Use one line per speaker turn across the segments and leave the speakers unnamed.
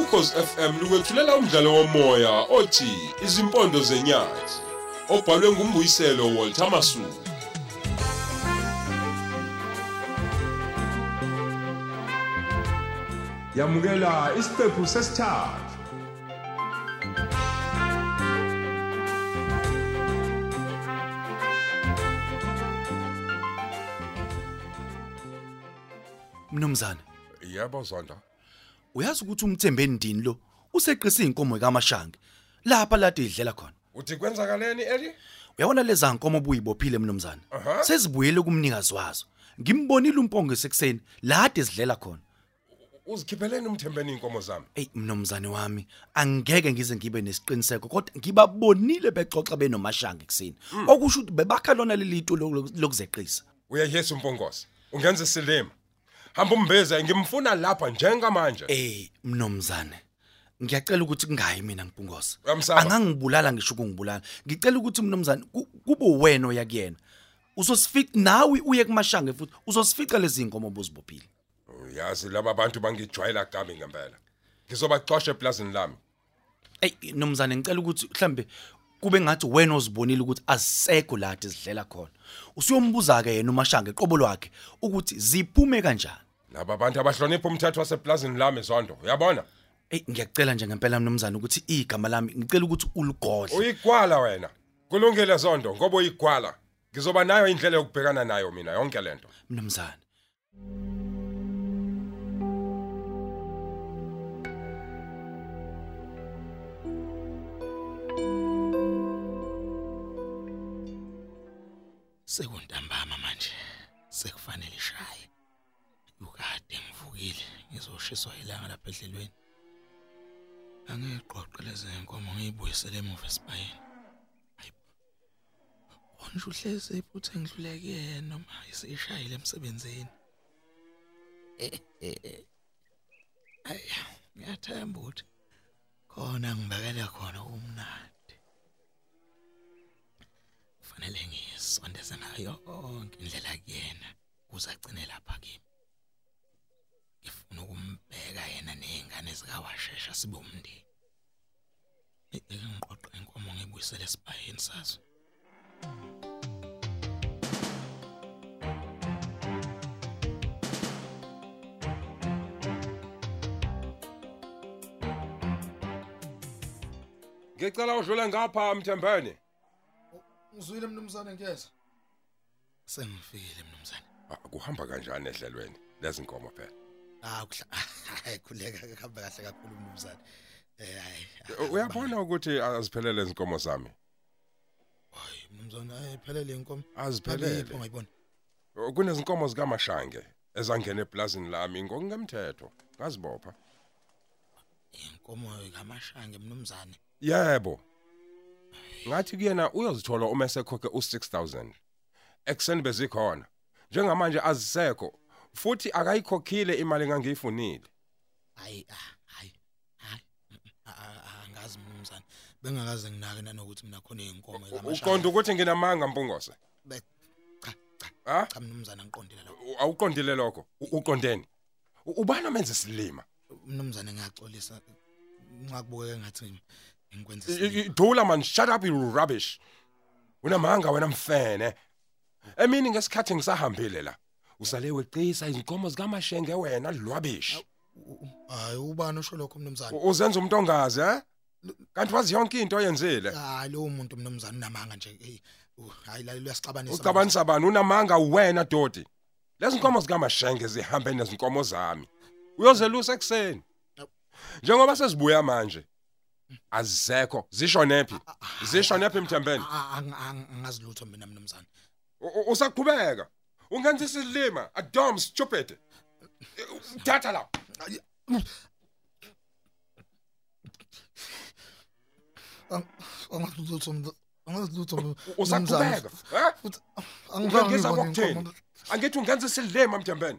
ukhozi FM lukwethulela umdlalo womoya othi izimpondo zenyathi obhalwe ngumbuyiselo Walter Masuku. Yamukela isiqephu sesithathu.
Mnumzane,
Yebo Zonda.
uyazi ukuthi umthembe ndini lo useqisa inkomo kaMashangi lapha lade idlela khona.
Uthi kwenzakaleni Eli?
Uyabona leza inkomo obuyibophile mnumzane.
Aha.
Sezibuyele kumnikazi wazo. Ngimbonile uMpongo esekuseni lade sidlela khona.
Uzikhipheleni umthembeni inkomo zami.
Ey mnumzane wami, angeke ngize ngibe nesiqiniseko kodwa ngibabonile bexoxa benoMashangi ekseni. Okusho ukuthi bebakha lona leli tulo lokuzeqisa.
Uyayesa umpongosi. Ungenza isilima. Hamba umbeze ngimfuna lapha njengamanje.
Ey mnumzane ngiyacela ukuthi kungayi mina ngibungosa
Uyamsaba?
angangibulala ngisho ukungibulala ngicela ukuthi mnumzane ku- kube wena oya kuyena uzosifica nawe uye kumashange futhi uzosifica lezi inkomo obuzibophile
Uyazi laba bantu bangijwayela kabi ngempela. Ngizobaxosha eplazini lami.
ey mnumzane ngicela ukuthi mhlambe kube ngathi wena ozibonile ukuthi asisekho lati sidlela khona usuyombuza ke yena umashange qobo lwakhe ukuthi ziphume kanjani
Laba bantu abahlonipha umthetho waseplazini lami Zondo. Uyabona?
ey ngiyacela nje ngempela mnumzane ukuthi igama lami ngicela ukuthi uligodle
Uyigwala wena. Kulungile Zondo ngoba uyigwala. Ngizoba nayo indlela yokubhekana nayo mina yonke lento.
mnumzane
sekuntambama manje sekufanele ishaye ukade ngivukile ngizoshiswa ilanga lapha edlelweni angiqoqe lezi nkomo ngiyibuyisele emuva esibayeni Hayi, konje uhlezi iphuthe ngidluleke noma isishayile emsebenzini Ayi, ngiyathemba ukuthi khona ngibekele khona umnandi kufanele ngisondeze ngayo yonke indlela kuyena kuze agcine lapha kimi ngifuna ukumbheka yena ney'ngane zikawashesha sibe umndeni Eke ngiqoqe inkomo ngibuyisele esibayeni sazo
Ngicela udlule ngapha mthembeni.
Ngizwile mnumzane ngiyeza.
sengifikile mnumzane
Ah, Kuhamba kanjani ehlelweni lezi nkomo phela?
hawu khuleka kuhamba kahle kakhulu mnumzane um hayi
Uyabona ukuthi aziphelele izinkomo zami.
hayi mnumzane hayi phelele inkomo
Aziphelele.
ngayibona
Kunezinkomo zikaMashange ezangena eplazini lami ngokungemthetho. Ngazibopha.
inkomo kamashange mnumzane
Yebo. Ngathi kuyena uyozithola uma esekhokhe u6000. Ekseni bezikhona. Njengamanje azisekho futhi akayikhokhile imali engangiyifunile.
hayi ah, hayi hayi mm, mm, a- a- angazi mnumzane bengakaze nginake nanokuthi mina khona iy'nkomo
Uqonda ukuthi nginamanga mpungose.
Be- cha cha
Ha?
cha mnumzane angiqondile lokho
U- Awuqondile lokho? U- Uqondeni? U- Ubani omenza isilima?
mnumzane ngiyaxolisa nxa kubukeke ngathi ngikwenza
I- i-
isimbi.
i- Dula man, shut up you rubbish. Unamanga wena mfene. Emini ngesikhathi ngisahambile la. Usale weqisa izinkomo zikaMashenge wena lwabish.
U- u- hayi ubani osho lokho mnumzane
U- Uzenza umuntu ongazi, eh? Kanti wazi yonke into oyenzile.
hayi lowo muntu mnumzane unamanga nje eyi, u- hayi lalo luyasixabanisa
Ucabanisa bani unamanga wena Dodi? Lezi nkomo zikaMashenge zihambe nezinkomo zami. Uyozelusa ekseni. Njengoba sesibuya manje. Azekho, zishonephi? Zishonephi mthembeni?
angazi lutho mina mnumzane
U- u- usaqhubeka ungenza isilima adom stupid data la
Ang- Angazi lutho mnu- angazi lutho mnu-
U- usaqhubeka eh?
Futhi
ungangisa
angivangile
kokutheni angithi ungenza isilima mthembeni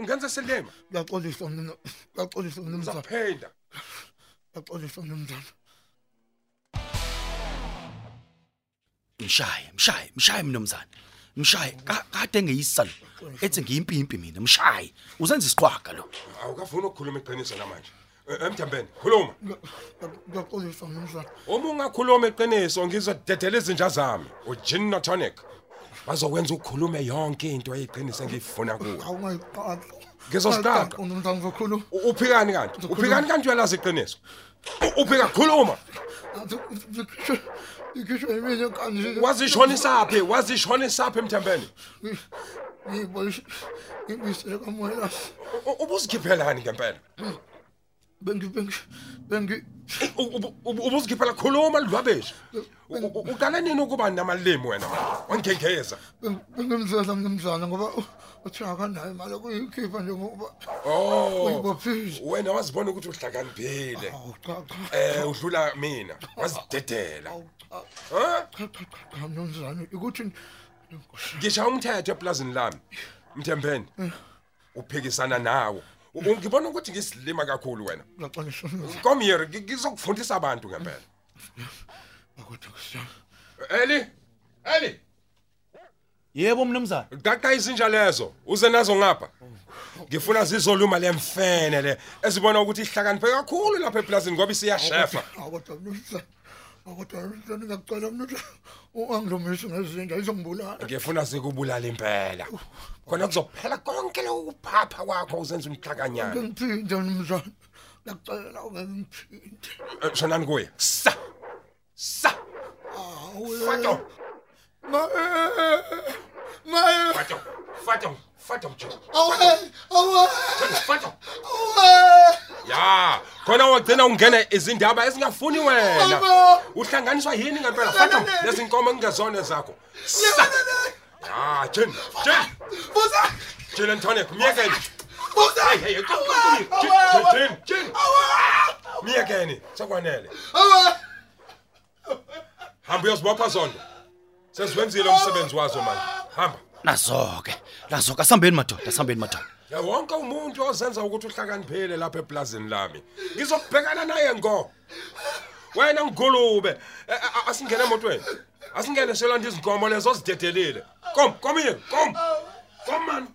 ungenza isilima
Ngiyaxolisa mnumzane. Ngiyaxolisa mnumzane.
uzaphinda
Ngiyaxolisa mnumzane.
mshaye mshaye mshaye mnumzane mshaye Ka- kade ngiyisalo ethi ngiyimpimpi mina mshaye uzenza isiqwaga lo
awukafuni ukukhuluma iqiniso namanje emthambeni khuluma
ngiyaxolisa mnumzane
uma ungakhuluma iqiniso ngizodedela izinja zami ujin notonic bazokwenza ukukhulume yonke into eyiqiniso engiyifuna kuwe
awungayiqaqi
Ngizoziqaqa.
mnumzane ngizokhuluma
U- uphikani kanti uphikani kanti uyalazi iqiniso U- uphika khuluma
Athi ngikhishwe ngikhishwe yimini kanje
wazishonisaphi wazishonisaphi emthambeni
ngiyiboyishe ngibisele kamoya la
U- ubuzikhiphelani ngempela
bengi bengi bengi
U- ubu- ubu- ubuzikhiphela khuluma ludwabeshi ukale nini ukuba namalimi wena wangikhengeza
bengimzela mnumzane ngoba u- uthiwa akanayo imali okuyikhipha njengoba
oh
uyibophile
wena wazibona ukuthi uhlakaniphile
awu cha cha
eh udlula mina wazidedela
awu cha
huh?
cha cha cha, cha mnumzane ukuthi nkosi
ngishaya umthetho eplazini lami mthembeni uphikisana nawo U- ngibona ukuthi ngisilima kakhulu wena
ngiyaxolisa mnumzane
come here ngi- ngizokufundisa abantu ngempela
ukuthi ngisiyami
eli eli
Yebo mnumzane.
gaqa izinja lezo uze nazo ngapha ngifuna zizoluma lemfene le ezibona ukuthi ihlakaniphe kakhulu lapha eplazini ngoba isiyashefa
awukodwa mnumzane awukodwa mnumzane ngiyacela mnumzane ungangilumisi ngezinja izongibulala
ngifuna sikubulala impela khona kuzophela konke lokuphapha kwakho uzenza umhlakanyana
ngiphinde mnumzane ngiyacela ungeke ngiphinde
Eh, shonani kuye sa sa
awu
fato
ma ma
fato fato fato mjoko
Away! Away!
fato
Away!
ya khona wagcina ungena izindaba ezingafuni wena
Mama!
uhlanganiswa yini ngempela fato lezinkomo engezona zakho sa ya jin jin
Buza!
Jill and Tonic, myekeni.
Buza!
Hey, hey, come come come. Jill, Jill, Jill. Myekeni, sokwanele.
Away!
Hamba uyozibopha zonke. Sesiwenzile umsebenzi wazo manje. Hamba.
Nazoke. Nazoke asambeni madoda, asambeni madoda.
Ya wonke umuntu ozenza ukuthi uhlakaniphele lapha eplazini lami. Ngizobhekana naye ngo. Wena ngigulube, Eh, eh, asingene emotweni. Asingene selanda izinkomo lezo zidedelile. Kom, kom here, kom. Kom man.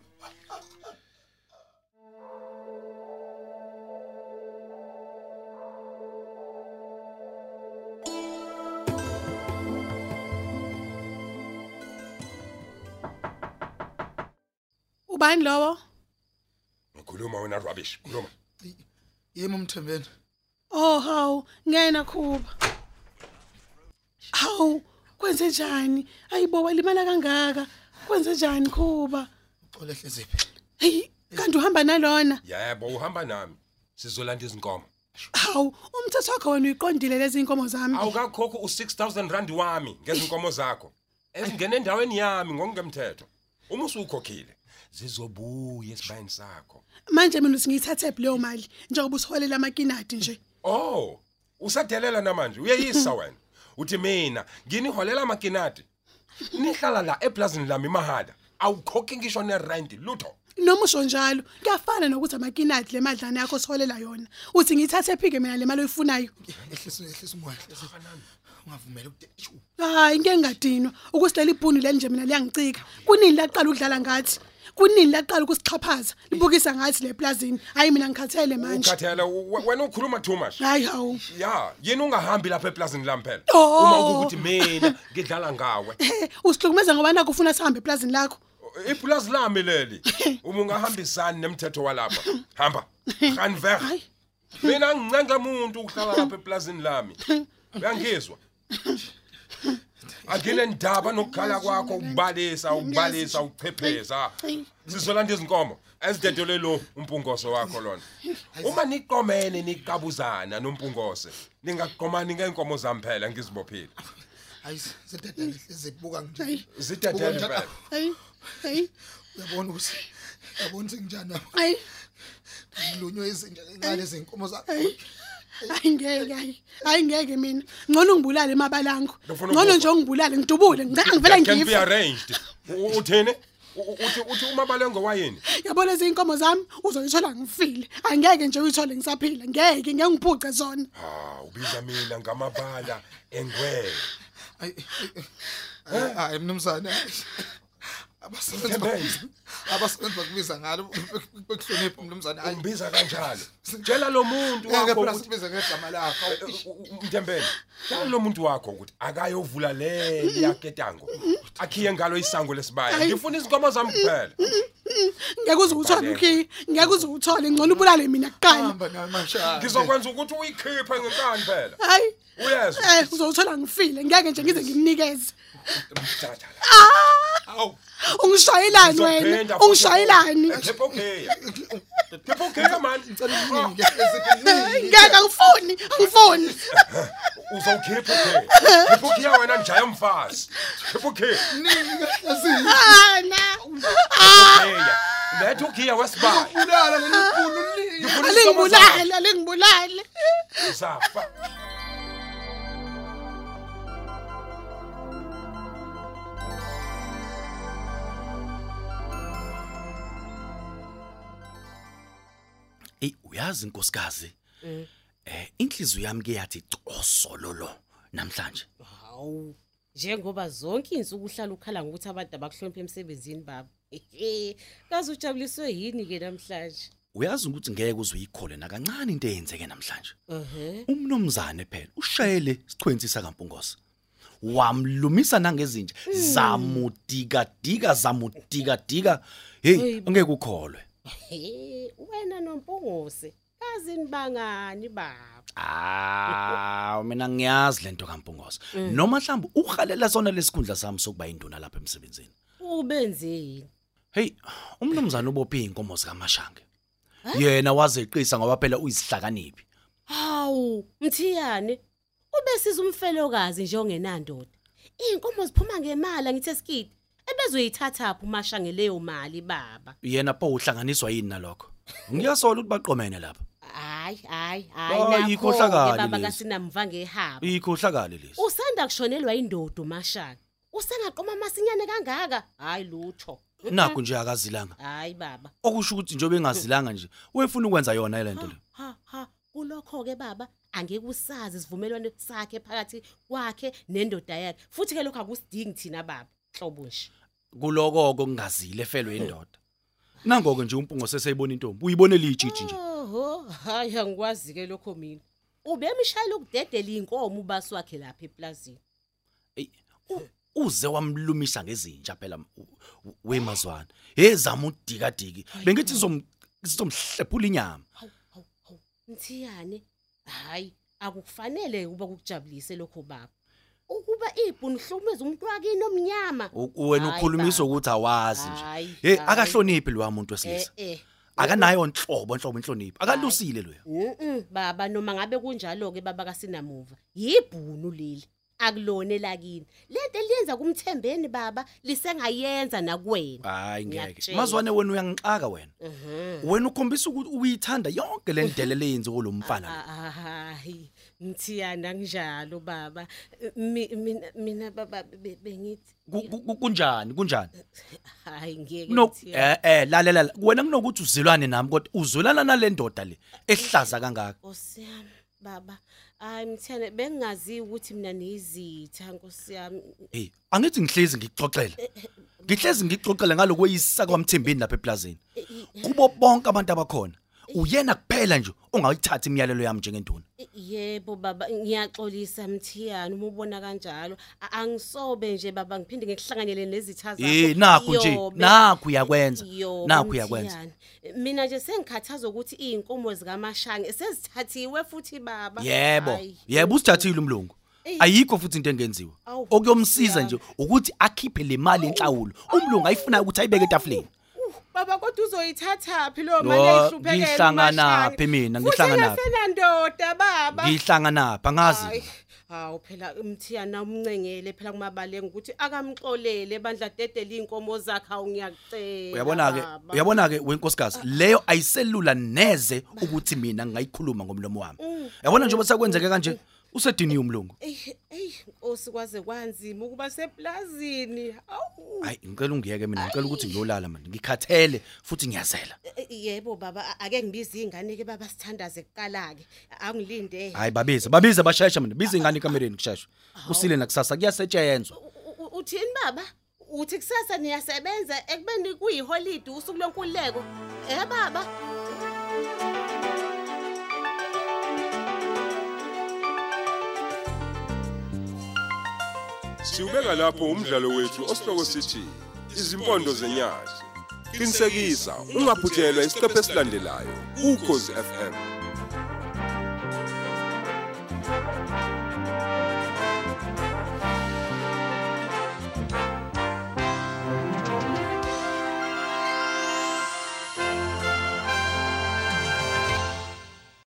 Ubani lowo?
Ngikhuluma wena rubbish, khuluma.
Yimi umthembeni.
Oh haw, ngena khuba. Haw, kwenze njani? Ayibo walimala kangaka. Kwenze njani khuba?
Uxole hleziphi.
Hey, kanti uhamba nalona?
Yebo, uhamba nami. Sizolanda izinkomo.
Haw, umthetho wakho wena uyiqondile lezi inkomo zami.
awukakhokho u-6000 rand wami ngezinkomo zakho ezingena endaweni yami ngokungemthetho uma usukhokhile zizobuya esibayeni sakho
Manje mina usingiyithathe leyo mali njengoba usiholela amakinati nje.
oh usadelela namanje uyeyisa wena uthi mina nginiholela amakinati nihlala la eplazini lami mahala awukhokhi ngisho nerandi lutho
Noma usho njalo, kuyafana nokuthi amakinati le madlana yakho siholela yona. Uthi ngiyithathe phike mina le mali oyifunayo.
Ehlisa ehlisa umoya hleziphi. Ungavumeli ukuthi
Hayi ngeke ngadinwa ukusilela ibhunu leli nje mina liyangicika. Kunini laqala ukudlala ngathi? Kunini laqala ukusixhaphaza? Libukisa ngathi le plazini. Hayi mina ngikhathele manje.
ukhathela we- wena ukhuluma too much
Hayi hawu.
ya yini ungahambi lapha eplazini lami phela
Oh.
uma ukuthi mina ngidlala ngawe
Eh, Usihlukumeza ngoba naku ufuna sihambe eplazini lakho.
ipulazi lami leli uma ungahambisani nemthetho walapha hamba ganver
Hayi.
mina ngincenga umuntu ukuhlala lapha eplazini lami uyangizwa angine ndaba nokukhala kwakho ukubalisa ukubalisa ukuchepheza sizolanda izinkomo ezidedele lo umpungoso wakho lona uma niqomene niqabuzana nompungose ningaqomani ngeenkomo zami phela ngizibophile
hayi sidedele hlezibuka nje.
Hayi.
zidedele phela
Hayi. Hayi.
Uyabona ukuthi uyabona ukuthi nginjani lapha.
Hayi.
Ngilunywe izinja encane izinkomo zakho.
Hayi. Hayi ngeke hayi. Hayi ngeke mina. Ngcono ngibulale emabalango.
Ngifuna
Ngcono
ukufa.
nje ungibulale ngidubule. Ngicela ngivela
can be
ngife.
arranged U- uthini U- u- uthi uthi uma balengo wayini
Yabona izinkomo zami uzoyithola ngifile. Angeke nje uyithole ngisaphila. Ngeke ngeke ngiphuce zona.
ha Ah, ubiza mina ngamabala engwe
Hayi. Hayi mnumzane. abasebenzi
Mthembeni.
ba- abasebenzi bakubiza ngalo bek- bekuhloniphe mnumzane hayi
Umbiza kanjalo. Tshela lo muntu
ngeke
wakho
phela
ukuthi eh,
sibize ngegama lakho Awu,
Mthembeni, tshela lo muntu wakho ukuthi akayovula le yaketango. Akhiye ngalo isango lesibaya. Ngifuna izinkomo zami kuphela.
ngeke uze uthole ukhi ngeke uze uthole ngcono ubulale mina kuqala
hamba nawe mashaka
Ngizokwenza ukuthi uyikhiphe ngenkani phela.
hayi
Uyezwa?
eh uzowuthola ngifile ngeke nje ngize ngimnikeze
Mthatha la.
awu
ungishayelani wena ungishayelani
Phepho okay. Phepho okay man.
ngicela ukuningi ngeke
Eh, ngeke angifuni angifuni
Uzawukhipha okay. Phepho okay wena njaya mfazi. Phepho okay.
ngeke
ana
Hey. Lethe ukhiya wesibaya.
ulala lelikhulu ulingi
Ngifuna izinkomo zakho.
alingibulale alingibulale
Uzafa.
Ey uyazi inkosikazi. Eh inhliziyo yami ke yathi cosololo namhlanje.
Hawu. Njengoba zonke izinsuku uhlala ukhala ngokuthi abantu abakuhloniphe emsebenzini baba. Ehe. Kaze ujabuliswe yini ke namhlanje?
Uyazi ukuthi ngeke uzuyikhole nakancane into eyenzeke namhlanje.
Ehhe.
Umnomzane phela ushayele sichwenzi sakampungosa. Wamlumisa nangezinja zamudika dika zamudika dika. Hey
Hey, bo.
ngeke ukholwe.
Ehhe. Wena nompungose. Kazi nibangani baba?
Ah, mina ngiyazi lento kaMpungosa. Noma mhlawumbe uhalela sona lesikhundla sami sokuba induna lapha emsebenzini.
Ubenzeni?
Hey, umnumzane ubophe inkomo zikaMashange. Yena wazeqisa ngoba phela uyisihlakaniphi.
Hawu, mthiyane. Ube sizumfelokazi nje ongenandoda. Inkomo ziphuma ngemali ngithe skidi. Ebezoyithathapha umasha ngeleyo mali baba.
Yena pho uhlanganiswa yini nalokho? Ngiyasola ukuthi baqomene lapha.
Hayi, hayi,
Ah,
hayi.
yikho
Nakho-ke
hlakani
baba
lezi.
kasinamva ngehaba.
Ikhohlakale lesi.
Usanda kushonelwa indodo mashaka. Usengaqoma amasinyane kangaka? Hayi lutho.
Nakho nje akazilanga.
Hayi baba.
Okusho ukuthi njobe engazilanga nje, wefuna ukwenza yona le nto le.
Ha ha. Kulokho ke baba angeke usazi isivumelwano sakhe phakathi kwakhe nendoda yakhe. Futhi ke lokho akusidingi thina baba. Hlobo nje.
Kuloko okungazile efelwe indoda. Nangoke nje umpungo seseyibona intombi, uyibone lijiji nje.
Oho, hayi angikwazi ke lokho mina. Ubemshayela ukudedela inkomo ubasi wakhe lapha eplazini.
Ey, u- uze wamlumisa ngezinja phela u- u- wemazwana ezama udikadiki bengithi zom sizomhlephula inyama
Hawu, hawu, hawu. Mthiyane, hayi akukufanele ukuba kukujabulise lokho baba. Ukuba ibhunu hlukumeza umuntu wakini omnyama.
U- wena
Hayi,
ukhulumisa
baba.
ukuthi awazi nje
Hayi,
hey
hayi.
akahloniphi lo muntu
Eh
wesilisa
eh.
akanayo inhlobo inhlobo inhloniphi akalusile lo
Mhm, baba noma ngabe kunjalo ke baba kasinamuva. Yibhunu leli. Akulone lakini. Lento eliyenza kumthembeni baba lisengayenza nakuwena.
hayi ngeke
Ngiyakutshela. Mhm.
mazwane wena uyangixaka wena wena ukhombisa ukuthi uyithanda yonke le ndelele eyenziwe lo mfana
Ah,
lo.
hayi ngithiyana nginjalo baba Mi- mina mina baba be- bengithi
Ku- ku- ku- kunjani kunjani
hayi ngeke
no
Mthiyane.
eh eh lalela la. wena kunokuthi uzilwane nami kodwa uzwelana nalendoda le ehlaza kangaka
Nkosi yami baba hayi mthene bengazi ukuthi mina nizitha nkosi yami
Hey, angithi ngihlezi ngikuxoxela. Ngihlezi ngikuxoxela ngaloko yisisa kwaMthembeni lapha eplazini.
Eh,
Kubo bonke abantu abakhona, uyena kuphela nje ongayithatha imiyalelo yami njengenduna.
yebo baba ngiyaxolisa mthiyana uma ubona kanjalo A- angisobe nje baba ngiphinde ngikuhlanganyele nezitha zakho
Eh, nakho nje,
Yobe.
nakho uyakwenza.
Yobe,
Nakho uyakwenza.
Mthiyane. mina nje sengikhathaza ukuthi iy'nkomo zikamashange sezithathiwe futhi baba
Yebo.
Hhayi.
Yebo usithathile umlungu. Ayikho futhi into engenziwa.
Awu,
Okuyomsiza
siyami.
nje ukuthi akhiphe le mali enhlawulo. Umlungu ayifuna ukuthi ayibeke etafuleni.
Uh, baba kodwa uzoyithatha phi lo
Yo,
mali ehluphekele
ngihlanganaphi mina, ngihlanganaphi?
senandoda baba
Ngihlanganapha ngazi.
Hayi, hawu phela umthiyana umncengele phela kumabaleni ukuthi akamxolele bandla dedele iy'nkomo zakhe awu ngiyacela
Uyabona ke,
baba.
uyabona ke wenkosikazi, leyo ayiselula neze ukuthi mina ngingayikhuluma ngomlomo wami.
Mm.
Uyabona nje obasekwenzeke kanje, usediniwe umlungu.
eyi eyi nkosi kwaze kwanzima ukuba seplazini awu
Hayi, ngicela ungiyeke mina, ngicela ukuthi ngiyolala mina. Ngikhathele futhi ngiyazela.
Eh, yebo baba a- ake ngibize iy'ngane-ke baba sithandaze kuqala-ke angilinde
Hayi babiza, babiza bashesha mina. Biza ingane ekamereni kusheshwe. Usile nakusasa kuyasetshenzwa.
U- u- uthini baba uthi kusasa niyasebenza ekubeni kuyiholide usuku lwenkululeko eh baba
Siubeka lapho umdlalo wethu osihloko sithi izimpondo zenyathi. Qinisekisa ungaphuthelwa isiqephu esilandelayo. Ukhozi FM 94.9